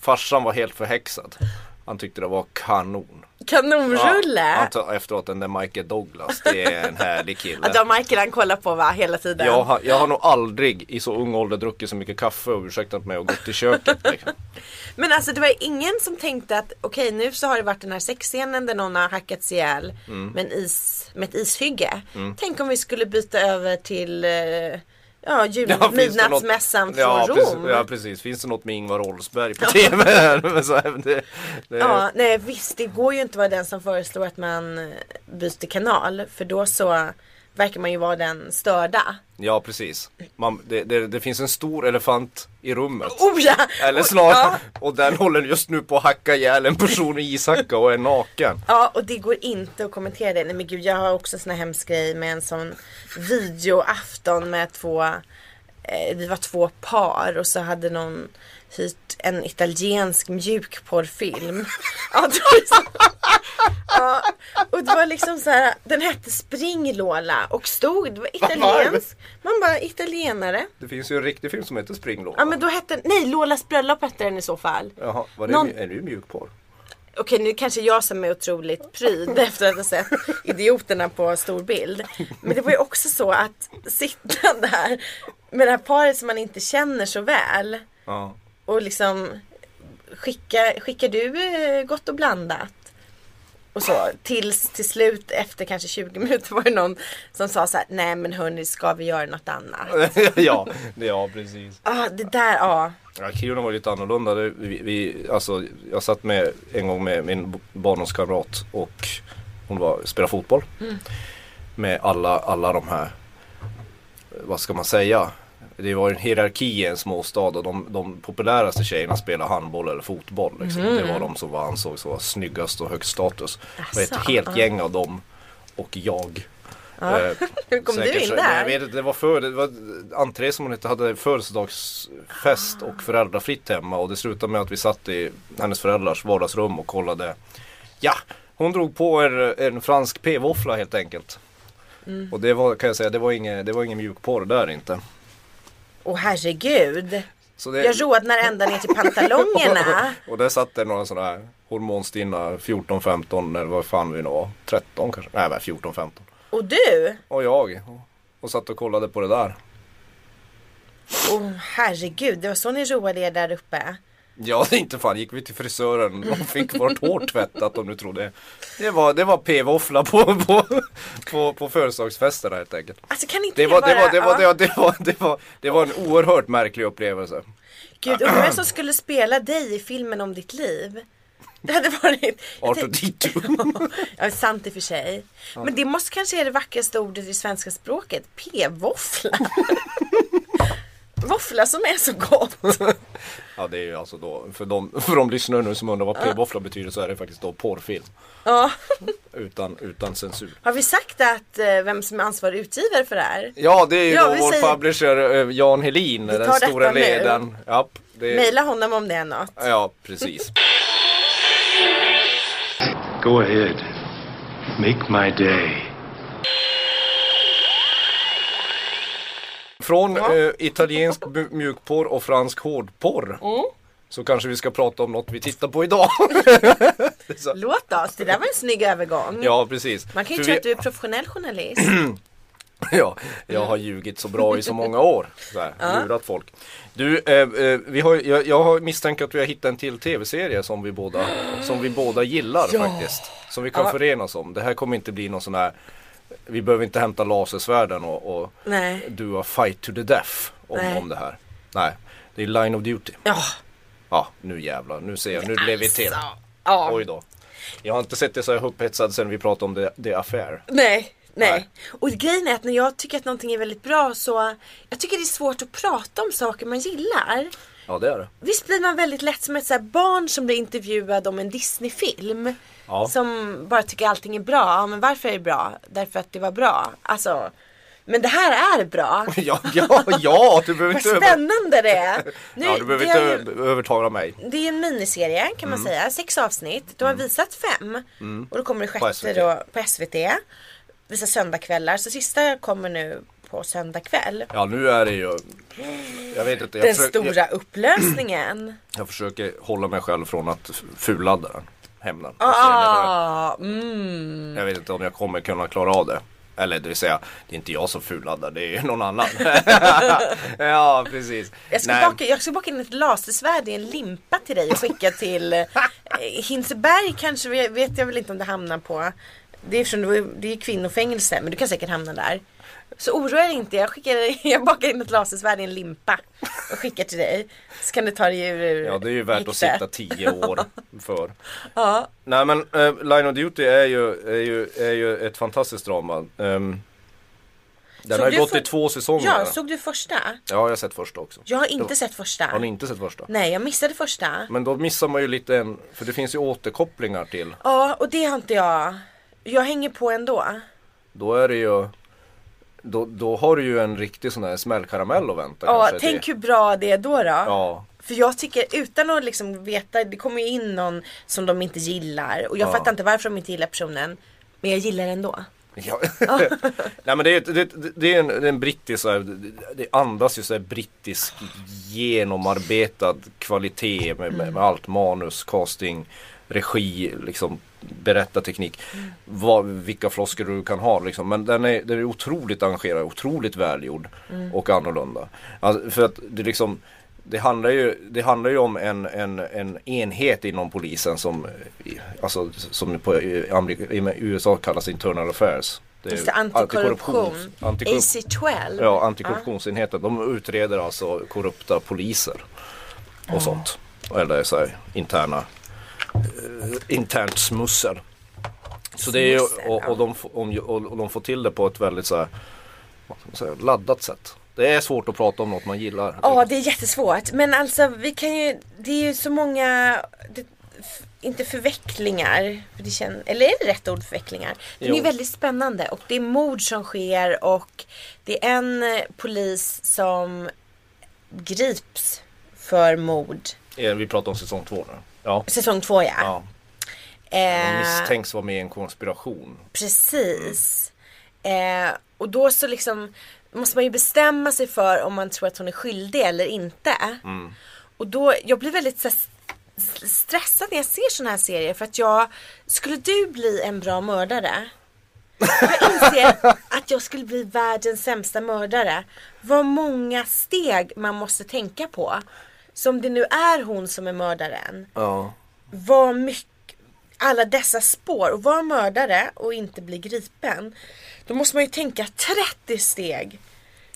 Farsan var helt förhäxad. Han tyckte det var kanon. Ja, Kanonrulle! han tar efteråt den där Michael Douglas, det är en härlig Ja, kille. det har Michael han kollar på va, hela tiden. Jag har, jag har nog aldrig i så ung ålder druckit så mycket kaffe och ursäktat mig och gått till köket. Liksom. Men alltså det var ingen som tänkte att okej nu så har det varit den här sexscenen där någon har hackats ihjäl Mm. med, en is, med ett ishygge. Tänk om vi skulle byta över till eh, ja, jul, Ja, finns det något- midnattsmässan från ja, Rom. precis, ja precis, finns det något med Ingvar Oldsberg på TV? här? Men så här, det, det, Ja, nej visst det går ju inte att vara den som föreslår att man eh, byter kanal för då så verkar man ju vara den störda. ja precis, Man, det, det, det finns en stor elefant i rummet. Oh ja! Eller Och- snarare, Ja, och den håller just nu på att hacka ihjäl en person i ishacka och är naken. ja, och det går inte att kommentera det. Nej men gud jag har också en sån här hemsk grej med en sån videoafton med två eh, vi var två par och så hade någon hyrt en italiensk mjukporrfilm. Ja, det var liksom, Ja, och det var liksom så här, den hette Spring Lola och stod, det var italiensk. Man bara, italienare. Det finns ju en riktig film som heter Springlåda. Ja men då hette, nej Lolas bröllop hette den i så fall. Jaha, var det, Någon- Är det ju mjukporr? Okej nu kanske jag som är otroligt pryd efter att ha sett idioterna på stor bild. Men det var ju också så att sitta där med det här paret som man inte känner så väl Ja. och liksom skicka, skickar du eh, gott och blandat? Och så tills till slut efter kanske 20 minuter var det någon som sa så här: nej men hörni ska vi göra något annat? ja, det- ja, precis. Ja det där, ja. Ja, Kiruna var lite annorlunda. Det- Vi, vi, alltså, jag satt med en gång med min b- barndomskamrat och hon var, spelade fotboll. Mm. Med alla, alla de här, eh, vad ska man säga? Det var ju en hierarki i en småstad och de, de populäraste tjejerna spelade handboll eller fotboll. Liksom. Mm. Det var de som var, ansågs vara snyggast och högst status. Det var ett Asså, helt ja. gäng av dem och jag. Eh, Hur kom Säkert du så- in Nej, Jag där? vet inte, det var för, det var entré som hon inte hade födelsedagsfest och föräldrafritt hemma och det slutade med att vi satt i hennes föräldrars vardagsrum och kollade. Ja, hon drog på en, en fransk p-våffla helt enkelt. Mm. Och det var, kan jag säga, det var ingen, det var ingen mjukporr där inte. Åh herregud. Så Jag rodnar ända ner till pantalongerna. och där satt det några sådana här hormonstinna 14, 15 eller vad fan vi nu var. 13 kanske? Nej, men 14, 15. Och du? Och jag. Och, och satt och kollade på det där. Åh herregud, det var så ni roade er där uppe. Ja, det är inte fan gick vi till frisören och fick vårt hår tvättat om du tror det. Det var, det var p-våffla på, på, på, på födelsedagsfesterna helt enkelt. Alltså kan inte Det var, det, bara... var, det, var, ja. det, var, det, var, det, var, det var en oerhört märklig upplevelse. Gud, undrar vem som skulle spela dig i filmen om ditt liv? Det hade varit... jag Arthur tänk- D2. Ja, sant i och för sig. Men det måste kanske är det vackraste ordet i svenska språket. P-våffla. Våffla som är så gott. Ja, det är ju alltså då, för de, för de lyssnare nu som undrar vad p-våffla betyder så är det faktiskt då porrfilm. Ja. Utan, utan censur. Har vi sagt att eh, vem som är ansvarig utgivare för det här? Ja, det är ju Ja, då vi vår säger- publisher eh, Jan Helin, tar den detta stora nu. ledaren. Japp, det, Maila honom om det är något. ja, precis. Go ahead. Make my day. Från eh, italiensk mu- mjukporr och fransk hårdporr Mm. så kanske vi ska prata om något vi tittar på idag. Låt oss, det där var en snygg övergång. ja, precis. Man kan För ju tro vi- att du är professionell journalist. ja, jag har ljugit så bra i så många år. Så här, Lurat folk. Du, eh, eh, vi har, jag, jag har misstänkt att vi har hittat en till tv-serie som vi båda, som vi båda gillar faktiskt. Som vi kan förenas om. Det här kommer inte bli någon sån här vi behöver inte hämta lasersvärden och, och Nej. du har fight to the death om, Nej. om det här. Nej, det är line of duty. Ja, Ja, nu jävlar. Nu ser jag. Nu blev vi Alltså. till. ja. Oj då. Jag har inte sett det så här upphetsad sen vi pratade om The, the Affair. Nej, nej. Nej. Och grejen är att när jag tycker att någonting är väldigt bra så Jag tycker det är svårt att prata om saker man gillar. Ja, det är det. Visst blir man väldigt lätt som ett så här barn som blir intervjuad om en Disney-film. Ja. Som bara tycker allting är bra. Ja, men varför är det bra? Därför att det var bra. Alltså. Men det här är bra. Ja, ja, ja du behöver Vad inte, över... spännande det är. Nu, ja, du behöver det, inte är ju, ö- övertala mig. det är en miniserie kan man säga. Sex avsnitt. De har visat fem. Och då kommer det sjätte Mm. På SVT. då på SVT. Vissa söndagkvällar. Så sista kommer nu på söndag kväll. Ja, nu är det ju... Jag vet inte. Jag, Den försöker- stora jag, upplösningen. jag försöker hålla mig själv från att f- fulladda den. Hämnden. Ah, mm. Jag vet inte om jag kommer kunna klara av det. Eller det vill säga, det är inte jag som fulladdar, det är någon annan. ja, precis. Jag ska, Nej. baka, jag ska baka in ett lasersvärd i en limpa till dig och skicka till eh, Hinseberg kanske, vi- vet jag väl inte om det hamnar på. Det är, eftersom det var- det är kvinnofängelse men du kan säkert hamna där. Så oroa dig inte, jag, skickar, jag bakar in ett lasersvärd i en limpa och skickar till dig. Så kan du ta dig ur Ja det är ju värt att häktet. sitta tio år för. Nej men eh, Line of Duty är ju, är, ju, är ju ett fantastiskt drama. Ehm, den Så har ju du gått får- i två säsonger. Ja, såg du första? ja jag har sett första också. Jag har inte sett första. Har ni inte sett första? Nej, jag missade första. Men då missar man ju lite en, för det finns ju återkopplingar till. Ja, och det har inte jag. Jag hänger på ändå. Då är det ju Då, då har du ju en riktig sån här smällkaramell att vänta Ja, kanske. tänk det. hur bra det är då då. Ja. För jag tycker, utan att liksom veta, det kommer ju in någon som de inte gillar och jag Ja. fattar inte varför de inte gillar personen. Men jag gillar ändå. Ja. Nej men det är, ett- det, det- det är en, det är en brittisk, så här, det- det andas ju så här brittisk genomarbetad kvalitet med, med, med allt manus, casting, regi, liksom berättarteknik. Vad, vilka floskler du kan ha liksom. Men den är, den är otroligt engagerad, otroligt välgjord och annorlunda. Alltså, för att det liksom det handlar ju, det handlar ju om en, en, en enhet inom polisen som, eh, alltså, som på eh, Amerika, i USA kallas internal affairs. Det är Just det, antikorruptions- antikorruption. Ah. antikorrup- AC12. ja, antikorruptionsenheten. De utreder alltså korrupta poliser Ah. och sånt. Eller så här, interna, eh, internt smussel. Så det är ju, Smussel, och, och, de, f- om, ju- och, och de får till det på ett väldigt så här, vad ska man säga, laddat sätt. Det är svårt att prata om något man gillar. Ja, det är jättesvårt. Men alltså, vi kan ju, det är ju så många, det, f, inte förvecklingar, för det kän, eller är det rätt ord förvecklingar? Den är Jo. ju väldigt spännande och det är mord som sker och det är en eh, polis som grips för mord. Eh, Vi pratar om säsong två nu. Ja. Säsong två ja. ja. De Eh, misstänks vara med i en konspiration. Precis. Eh, och då så liksom måste man ju bestämma sig för om man tror att hon är skyldig eller inte. Och då, jag blir väldigt så här s- stressad när jag ser sådana här serier för att jag, skulle du bli en bra mördare? Jag inser att jag skulle bli världens sämsta mördare. Vad många steg man måste tänka på. Så om det nu är hon som är mördaren Ja. var mycket, alla dessa spår och vara mördare och inte bli gripen. Då måste man ju tänka 30 steg.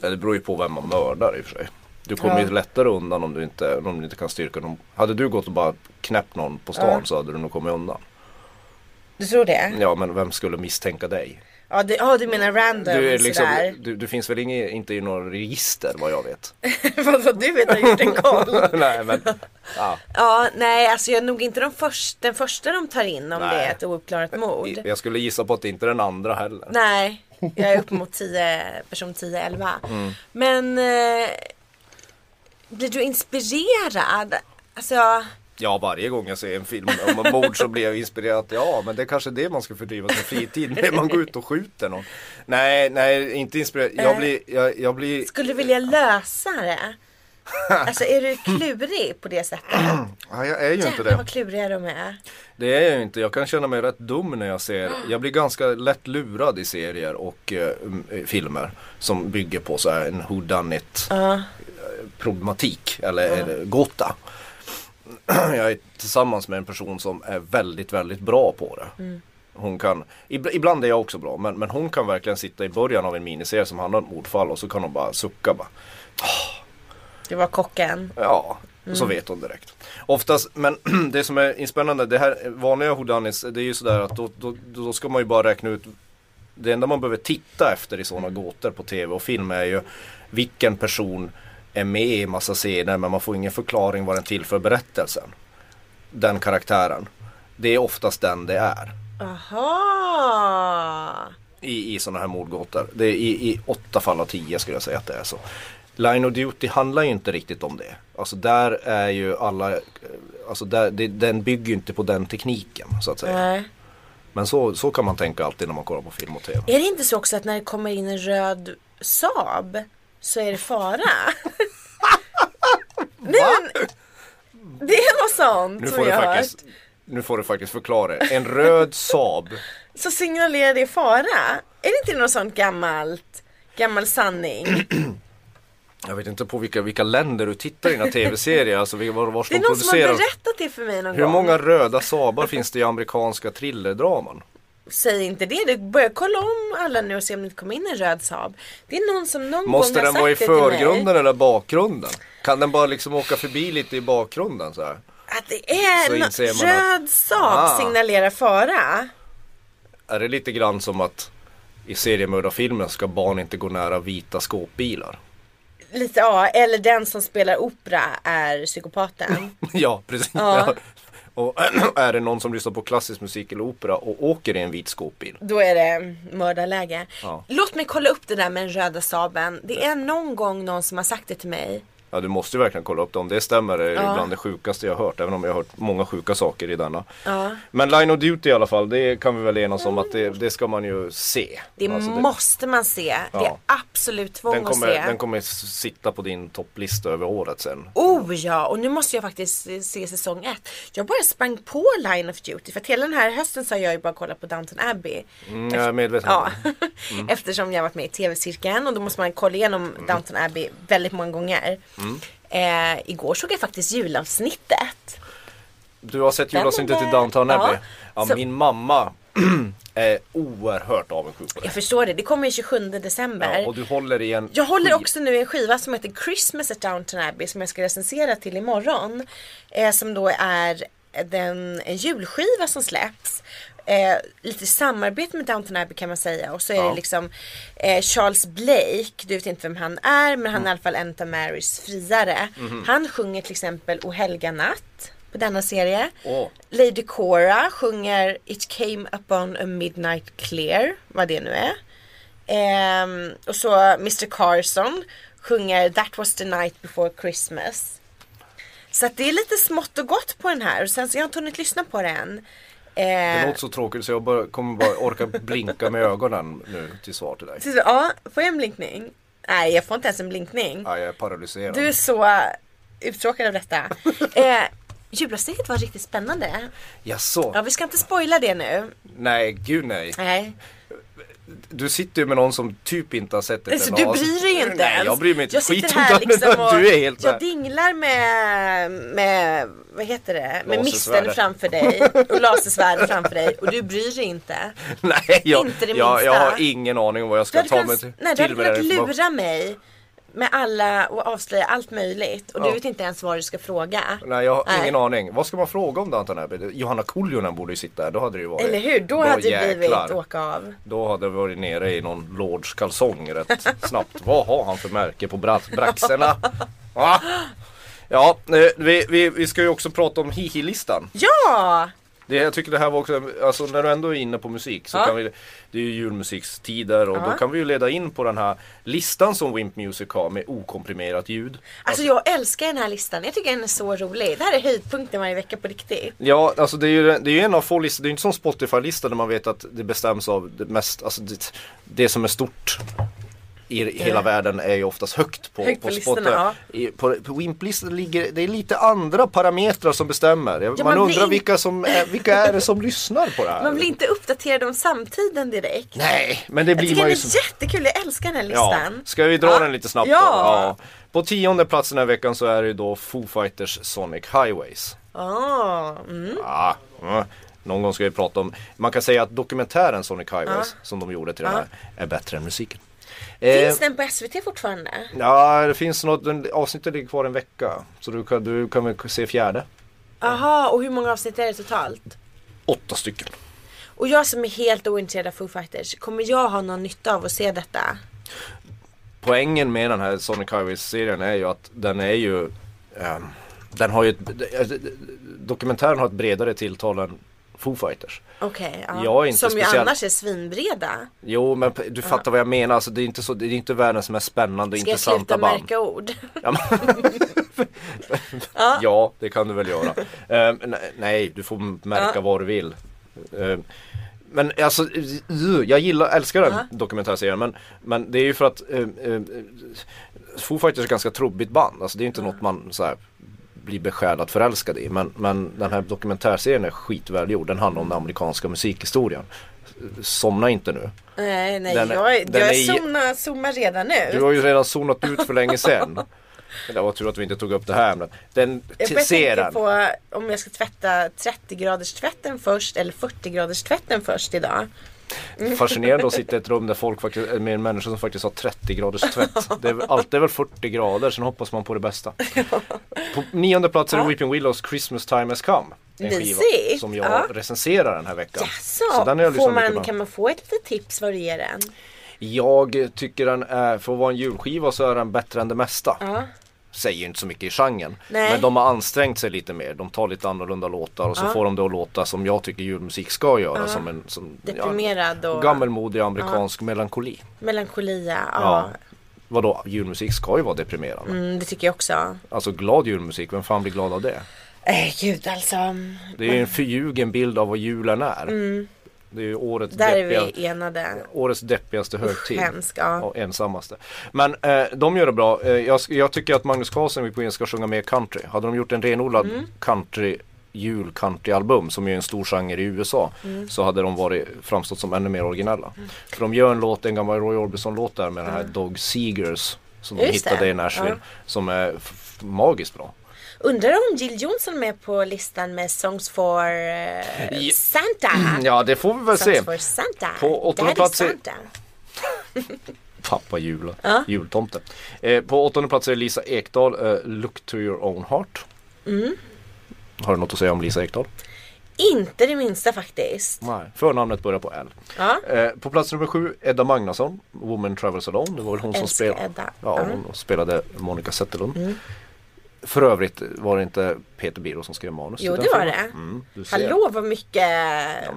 Det beror ju på vem man mördar i och för sig. Du kommer Ja. ju lättare undan om du, inte, om du inte kan styrka någon. Hade du gått och bara knäppt någon på stan så hade du nog kommit undan. Du tror det? Ja men vem skulle misstänka dig? Ja, du, ja, du menar random Du, är och liksom, sådär. du, du finns väl inge, inte i några register vad jag vet? vad, vad du vet har gjort en koll. Nej men ja. ja, nej alltså jag är nog inte de först, den första de tar in om Nej. det är ett ouppklarat mord. jag skulle gissa på att det inte är den andra heller. Nej, jag är upp mot 10, person 10-11. Mm. Men eh, blir du inspirerad? Alltså, Ja varje gång jag ser en film om mord så blir jag inspirerad. Ja men det är kanske det man ska fördriva sin fritid med. Man går ut och skjuter någon. Nej, nej inte inspirerad. Jag blir, jag, jag blir Skulle du vilja lösa det? Alltså är du klurig på det sättet? Ja, jag är ju inte Jävlar det. vad kluriga de är. Det är jag ju inte. Jag kan känna mig rätt dum när jag ser. Jag blir ganska lätt lurad i serier och eh, m- eh, filmer som bygger på så här en whodunit Ja. problematik eller eller gåta. Jag är tillsammans med en person som är väldigt, väldigt bra på det. Hon kan, ib- ibland är jag också bra, men, men hon kan verkligen sitta i början av en miniserie som handlar om mordfall och så kan hon bara sucka bara. Det var kocken. Ja, så vet hon direkt. Oftast, men det som är spännande, det här vanliga Hodanis, det är ju sådär att då, då, då ska man ju bara räkna ut Det enda man behöver titta efter i sådana gåtor på tv och film är ju vilken person är med i massa scener men man får ingen förklaring vad den tillför berättelsen. Den karaktären. Det är oftast den det är Aha. i, i sådana här mordgåtor. Det är i, I åtta fall av tio skulle jag säga att det är så. Line of Duty handlar ju inte riktigt om det. Alltså där är ju alla, eh, alltså där, det, den bygger ju inte på den tekniken så att säga. Nej. Men så, så kan man tänka alltid när man kollar på film och tv. Är det inte så också att när det kommer in en röd Saab så är det fara? Nej men det är något sånt Nu som får, du jag har hört. faktiskt, nu får du faktiskt förklara det. En röd Saab. Så signalerar det fara? Är det inte något sånt gammalt? Gammal sanning? Jag vet inte på vilka, vilka länder du tittar i dina tv-serier. Alltså vilka- var, var Det är de någon som har producerar. berättat det för mig någon Hur gång. många röda Saabar finns det i amerikanska thrillerdraman? Säg inte det, du börjar kolla om alla nu och se om det inte kommer in en röd Saab. Det är någon som någon Måste gång har den vara i sagt det till mig. förgrunden eller bakgrunden? Kan den bara liksom åka förbi lite i bakgrunden så här? Att det är Så en inser man röd Saab Ah. signalerar fara. Är det lite grann som att i seriemördarfilmen ska barn inte gå nära vita skåpbilar? Lite ja, eller den som spelar opera är psykopaten. ja, precis. Ja. Ja. Och är det någon som lyssnar på klassisk musik eller opera och åker i en vit skåpbil. Då är det mördarläge. Ja. Låt mig kolla upp det där med den röda saben. Det är någon gång någon som har sagt det till mig. Ja du måste ju verkligen kolla upp det. Om det stämmer är det bland det sjukaste jag har hört. Även om jag har hört många sjuka saker i denna. Ja. Men Line of Duty i alla fall. Det kan vi väl enas om att det, det ska man ju se. Det Alltså, måste man se. Det är Ja. absolut tvång den, kommer, att se. den kommer s- sitta på din topplista över året sen. Oh ja, och nu måste jag faktiskt eh, se säsong ett. Jag bara sprang på Line of Duty för att hela den här hösten så har jag ju bara kollat på Downton Abbey. Mm, jag är medveten. om Ja, eftersom jag har varit med i tv-cirkeln och då måste man kolla igenom Mm. Downton Abbey väldigt många gånger. Eh, igår såg jag faktiskt julavsnittet. det. Du har sett Den julavsnittet i där- Downton Ja. Abbey? Ja, Så- min mamma är oerhört avundsjuk på det. Jag förstår det, det kommer ju 27 december. Ja, och du håller i en Jag håller skiv- också nu i en skiva som heter Christmas at Downton Abbey som jag ska recensera till imorgon. Eh, som då är den, en julskiva som släpps. Eh, lite i samarbete med Downton Abbey kan man säga. Och så är Ja. det liksom eh, Charles Blake, du vet inte vem han är men han Mm. är i alla fall en av Marys friare. Mhm. Han sjunger till exempel O helga natt på denna serie. Åh. Lady Cora sjunger It came upon a midnight clear, vad det nu är. Ehm, och så Mr Carson sjunger That was the night before Christmas. Så att det är lite smått och gott på den här och sen så jag har inte hunnit lyssna på den. Det Eh, låter så tråkigt så jag bara, kommer bara orka blinka med ögonen nu till svar till dig. så- ja, får jag en blinkning? Nej, jag får inte ens en blinkning. Ja, jag är paralyserad. Du är så uttråkad av detta. Eh, Julavsnittet var riktigt spännande. Jaså? Ja, vi ska inte spoila det nu. Nej, gud nej. Nej. Du sitter ju med någon som typ inte har sett det Alltså, du bryr dig inte Nej, ens. jag bryr mig inte Jag jag sitter skit om här den. liksom och Du är helt Jag jag dinglar med, med, vad heter det? Med Lasersvärdet. misten framför dig och lasersvärd framför dig och du bryr dig inte. Nej, jag, Inte det jag, jag minsta. har ingen aning om vad jag Du ska hade ta mig kunnat, till nej, du hade med den här kunnat informationen. lura mig med alla och avslöja allt möjligt och du vet inte ens vad du ska fråga. Nej, jag har ingen aning. Vad ska man fråga om Downton Abbey? Johanna Kuljonen borde ju sitta här. Då hade det ju varit... Eller hur? Då, hade det blivit åka av. Då hade vi varit nere i någon lords kalsong rätt snabbt. Vad har han för märke på bra- braxerna? Va? Ja, eh, vi, vi, vi ska ju också prata om hihi-listan. Ja! Det, jag tycker det här var också, alltså när du ändå är inne på musik så Ja. kan vi, det är ju julmusikstider och Ja. då kan vi ju leda in på den här listan som Wimp Music har med okomprimerat ljud. Alltså jag älskar den här listan. Jag tycker den är så rolig. Det här är höjdpunkten varje vecka på riktigt. Ja, alltså det är ju, det är ju en av få listor, det är ju inte som Spotify-listan där man vet att det bestäms av det mest, alltså det, det som är stort i hela världen är ju oftast Eh. högt på, Högt på listorna, Spotify. ja. I, på, på Wimp-listan ligger, det är lite andra parametrar som bestämmer. man man blir undrar in- vilka, som är, vilka är det som lyssnar på det här? Man blir inte uppdaterad om samtiden direkt. Nej, men det Jag blir tycker man den ju är som- jättekul, jag älskar den här listan. Ska vi dra Ja. den lite snabbt ja. då? På tionde plats den här veckan så är det ju då Foo Fighters Sonic Highways. Ah, mm. Ja, mm. Någon gång ska vi prata om, man kan säga att dokumentären Sonic Highways som de gjorde till den här är bättre än musiken. Eh, Finns den på SVT fortfarande? Ja, det finns något, den- avsnittet ligger kvar en vecka. Så du kan, du kan väl se fjärde? Aha, och hur många avsnitt är det totalt? Åtta stycken. Och jag som är helt ointresserad av Foo Fighters, kommer jag ha någon nytta av att se detta? poängen med den här Sonic Highways-serien är ju att den är ju ehm, Den har ju ett, eh, Dokumentären har ett bredare tilltal än Foo Fighters Okej, ja. Jag är inte som ju speciell- annars är svinbreda. Jo men p- du fattar vad jag menar, alltså, det, är inte så, det är inte världens mest spännande och Ska jag sluta intressanta band märka ord? ja, men- ja det kan du väl göra Ehm, ne- Nej du får märka vad du vill Ehm, Men alltså, eh, jag gillar, älskar den Ja. dokumentärserien men, men det är ju för att eh, eh, Foo Fighters är ett ganska trubbigt band, alltså det är inte något man så här, blir besjälad förälskad i men, men den här dokumentärserien är skitvälgjord, den handlar om den amerikanska musikhistorien Somna inte nu nej, nej, Den är- jag, den jag är- zonar, zoomar redan nu. du har ju redan zonat ut för länge sedan Det var tur att vi inte tog upp det här ämnet Den Jag börjar tänka serien på om jag ska tvätta 30 graders tvätten först eller 40 graders tvätten först idag. Fascinerande att sitta i ett rum där folk faktiskt, eh, med en människa som faktiskt har 30 graders tvätt. Det är, väl- allt är väl 40 grader, sen hoppas man på det bästa. På nionde plats är det Weeping Willows Christmas time has come. En skiva Mysigt, som jag ja. recenserar den här veckan. Jaså, den har jag får lyssnat mycket man, på. kan man få ett litet tips vad det är den? Jag tycker den är, för att vara en julskiva så är den bättre än det mesta. Ja. säger inte så mycket i genren. Nej. Men de har ansträngt sig lite mer. De tar lite annorlunda låtar och så får de det att låta som jag tycker julmusik ska göra. Som en som, ja, Deprimerad och gammelmodig amerikansk melankoli. melankolia. Ja. Ja. Vadå, julmusik ska ju vara deprimerande. Mm, det tycker jag också. Alltså glad julmusik, vem fan blir glad av det? Äh, gud alltså. Det är ju en förljugen bild av vad julen är. Det är ju årets, Mm. Där är deppiga, vi enade. årets deppigaste högtid. hemskt, ja. ensammaste. Men eh, de gör det bra. Eh, jag, sk- jag tycker att Magnus Carlsen vid Queen ska sjunga mer country. Hade de gjort en renodlad Mm. country jul countryalbum som ju är en stor genre i USA Mm. så hade de varit framstått som ännu mer originella. För de gör en låt, en gammal Roy Orbison låt där med den här Dog Seegers som de Mm. Just det. hittade i Nashville Ja. som är f- magiskt bra. Undrar om Jill Johnson är med på listan med Songs for eh, Ja. Mm, Santa. Ja det får vi väl Songs se. for Santa. På åttonde Daddy plats är- Santa. Pappa julen, jultomte. Eh, på åttonde plats är Lisa Ekdahl, eh, Look to your own heart. Mm. Har du något att säga om Lisa Ekdahl? Inte det minsta faktiskt. Nej. Förnamnet börjar på L. Ja. Eh, på plats nummer sju, Edda Magnusson, Woman Travels Alone. Det var väl hon som Älskar spelade. Edda. Mm. Ja, Ja. Mm. hon spelade Monica Zetterlund. För övrigt var det inte Peter Biro som skrev manus. Jo, till det den var filmen. det. Mm, du ser. Hallå vad mycket,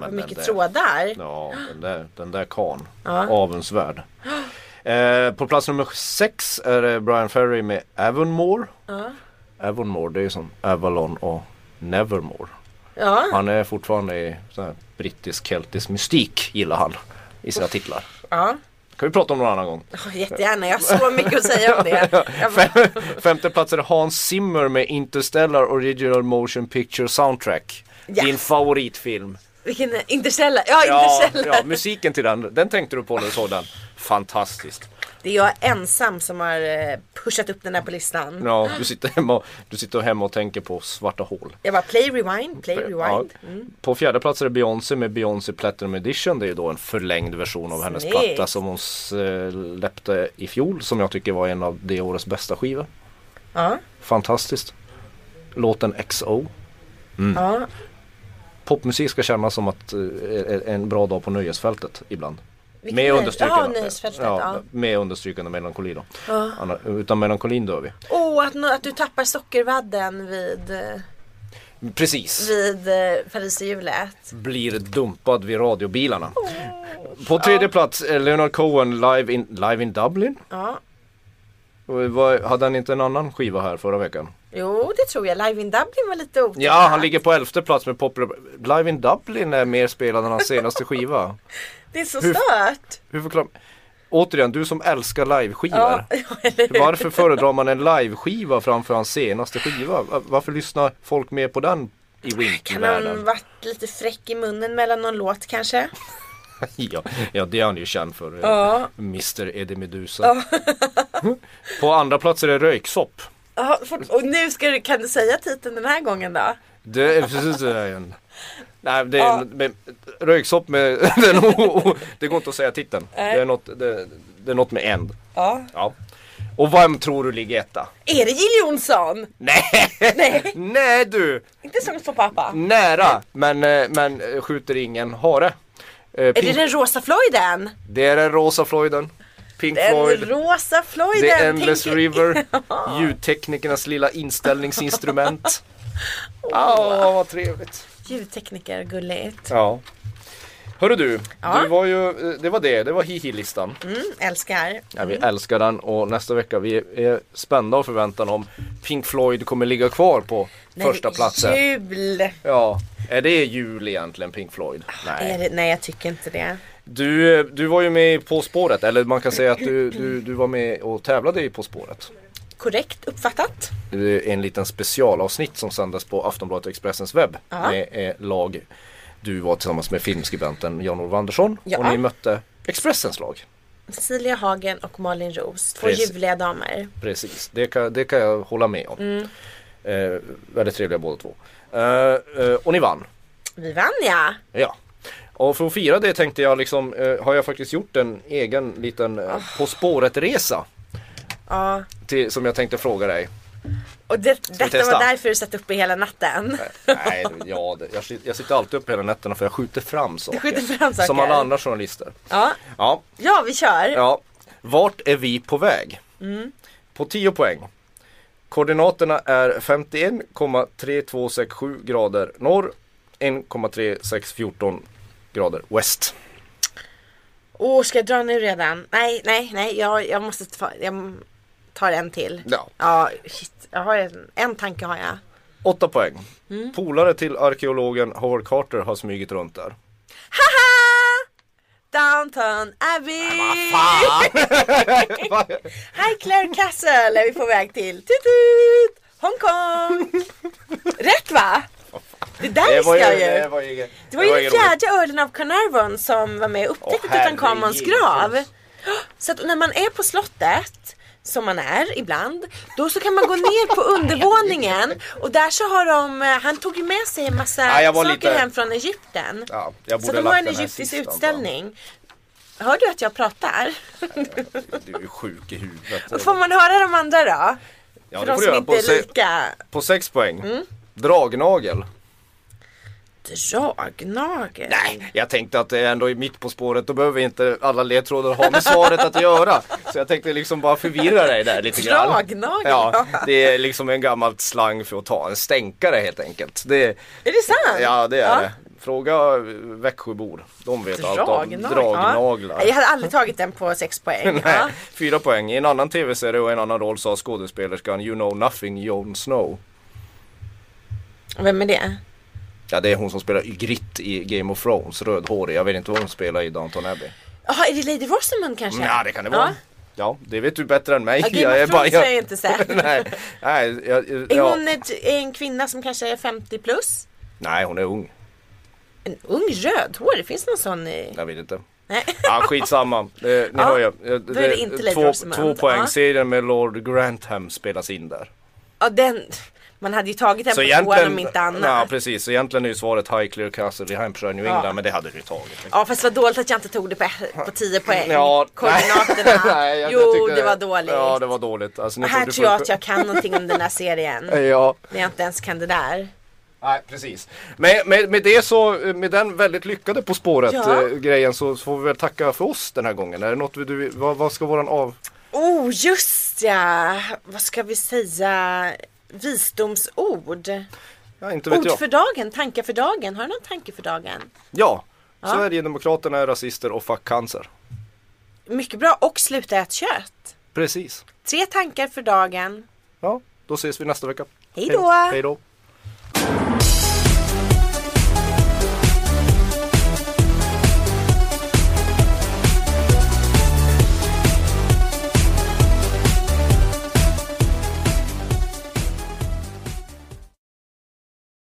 vad men mycket den där. trådar. Ja, den där, den där karln. Ja. Avundsvärd. Eh, på plats nummer sex är det Brian Ferry med Avonmore. Ja. Avonmore, det är ju som Avalon och Nevermore. Ja, Han är fortfarande i sån här brittisk-keltisk mystik gillar han i sina titlar. ja. Kan vi prata om någon annan gång. Oh, jättegärna. Jag har så mycket att säga om det. Jag bara, Fem, femte plats är det Hans Zimmer med Interstellar Original Motion Picture Soundtrack. Ja. Din favoritfilm. vilken Interstellar. Ja, Ja, Interstellar. ja, musiken till den, den tänkte du på när du såg den. Fantastiskt. Det är jag ensam som har eh, pushat upp den här på listan. Ja, du sitter hemma och, du sitter hemma och tänker på svarta hål. Jag bara play rewind, play rewind. Ja. På fjärde plats är det Beyoncé med Beyoncé Platinum Edition. Det är ju då en förlängd version av hennes Snyggt. platta som hon eh, släppte i fjol. Som jag tycker var en av det årets bästa skivor. Ja, Fantastiskt. Låten XO. ja. Popmusik ska kännas som att eh, en bra dag på nöjesfältet ibland. Vilken med nöj- understrykande, Ja, nöjesfältet, ja. med understrykande melankoli då. Anna- Utan melankolin dör vi. Åh, att, nå- att du tappar sockervadden vid, eh, Precis. vid eh, Pariserhjulet. Blir dumpad vid radiobilarna. På tredje plats eh, Leonard Cohen live in, live in Dublin. Ja. Och vad- Hade han inte en annan skiva här förra veckan? Jo, det tror jag. Live in Dublin var lite otippat. Ja, han ligger på elfte plats med Popular... Live in Dublin är mer spelad än hans senaste skiva. Det är så Hur- stört. Hur förklarar... Återigen, du som älskar liveskivor. Ja, ja, eller hur? Varför föredrar man en liveskiva framför hans senaste skiva? Va- Varför lyssnar folk mer på den i Kan han Wintervärlden? varit lite fräck i munnen mellan någon låt kanske? Ja, ja, det är han ju känd för. eh, Ja. Mr Eddie Meduza. på andra plats är det Röyksopp. Ja, fort- och nu ska du, kan du säga titeln den här gången då? Det är precis det där igen. Nej, det är en, men, Röyksopp med den o- o- Det går inte att säga titeln. Det är något, det, det är något med end. Ja. Ja. Och vem tror du ligger etta? Är det Jill Johnson? Nej! Nej. Nej du! Inte Songs for Papa? Mm. Nära, men, eh, men eh, skjuter ingen hare. Eh, Är det Pink- den rosa Floyden? det är den rosa Floyden. Pink Den Floyd. rosa Floyden! The Endless tänker- River. Ljudteknikernas lilla inställningsinstrument. Ja, vad trevligt. Ljudtekniker, gulligt. Ja. Hörru du, Ja. du var ju, eh, det var det, det var hihi-listan. Mm, älskar. Ja, vi älskar den och nästa vecka vi är spända av förväntan om Pink Floyd kommer ligga kvar på första Nej, platsen. Jul! Ja, är det jul egentligen Pink Floyd? Nej. Är det, nej, jag tycker inte det. Du, eh, du var ju med i På spåret, eller man kan säga att du, du, du var med och tävlade i På spåret. Korrekt uppfattat. Det är en liten specialavsnitt som sändes på Aftonbladet och Expressens webb Ja. med eh, lag. Du var tillsammans med filmskribenten Jan-Olof Andersson Ja. och ni mötte Expressens lag. Cecilia Hagen och Malin Roos, två Precis. ljuvliga damer. Precis, det kan, det kan jag hålla med om. Mm. Eh, väldigt trevliga båda två. Eh, eh, och ni vann. Vi vann ja! Ja. Och för att fira det tänkte jag liksom, eh, har jag faktiskt gjort en egen liten Ah. eh, På spåret-resa ja. till, som jag tänkte fråga dig. Och det, detta testa? var därför du satt uppe hela natten. Nej, ja, det, jag, sit- jag sitter alltid upp hela nätterna för jag skjuter fram saker. skjuter fram saker. Som alla andra journalister. Ja, Ja, ja vi kör. Mm. ja. Vart är vi på väg? På 10 poäng. Koordinaterna är 51,3267 grader norr, 1,3614 grader väst. Åh, ska jag dra nu redan? Nej, nej, nej. Jag, jag måste ta, jag tar en till. Ja. Ja, shit. Jag har en, en tanke har jag. Åtta poäng. Mm. Polare till arkeologen Howard Carter har smugit runt där. Haha! Downton Abbey! Highclere Castle är vi på väg till. Tut tut! Hongkong! Rätt va? Det där Det var visste ju, jag ju. det var ju, inget- Det var ju den inget roligt. fjärde earlen av Carnarvon som var med och upptäckte Åh, herregud. Tutankhamons grav. Så att när man är på slottet, som man är ibland, då så kan man gå ner på undervåningen och där så har de, eh, han tog ju med sig en massa Ja, Ah, jag var saker lite- hem från Egypten. Ja, jag så borde de lagt har en den här egyptisk sist, utställning. Hör du att jag pratar? Anton. Du är ju sjuk i huvudet. Får man höra de andra då? Ja, För det de får du som göra. inte På, är se, lika. Mm. på sex poäng. Dragnagel. Dragnagel. Nej, jag tänkte att det är ändå i mitt på spåret. Då behöver vi inte alla ledtrådar ha med svaret att göra. Så jag tänkte liksom bara förvirra dig där lite grann. Dragnagel? Ja, det är liksom en gammal slang för att ta en stänkare helt enkelt. Det, Är det sant? ja, det är Ja. det. Fråga Växjöbor. De vet allt om Dragnagel. dragnaglar. Ja. Jag hade aldrig tagit den på sex poäng. ja. Nej, fyra poäng. I en annan tv-serie och en annan roll sa skådespelerskan You know nothing Jon Snow. Vem är det? Ja det är hon som spelar Ygritte i Game of Thrones, rödhårig. Jag vet inte vad hon spelar i Downton Abbey. Jaha, är det Lady Rosamund kanske? Mm, Ja det kan det vara. Ja det vet du bättre än mig. Ja, Game of Thrones har jag inte sett. nej, nej, jag, Är ja. hon ett, är en kvinna som kanske är 50 plus? nej hon är ung. En ung rödhårig, finns det någon sån i... Jag vet inte. Nej. Ja skitsamma. Eh, ni Ja, hör ju. Eh, då är det inte Lady två, Rosamund. två poäng. Ja. Serien med Lord Grantham spelas in där. Ja, den... Man hade ju tagit den på tvåan om inte annat. ja, precis. Så egentligen är ju svaret Highclere Castle i Hampshire, New England. Ja. Men det hade du ju tagit. Ja fast vad dåligt att jag inte tog det på, på 10 poäng. Ja, Koordinaterna. Nej, jag- jag jo tyckte det var dåligt. Ja det var dåligt. Alltså, nu Och här tog du tror jag full- att jag kan någonting om den här serien. Ja, När jag inte ens kan det där. nej precis. Men med, med det så, med den väldigt lyckade På spåret Ja. eh, grejen så, så får vi väl tacka för oss den här gången. Är det något vi- du, vad, vad ska våran av? Oh just ja. Vad ska vi säga? Visdomsord. Ja inte vet Ord jag. för dagen, tankar för dagen. Har du någon tanke för dagen? Ja, Sverigedemokraterna är rasister och fuck cancer. Mycket bra. Och sluta ät kött. Precis. Tre tankar för dagen. Ja, då ses vi nästa vecka. Hej då. Hej då.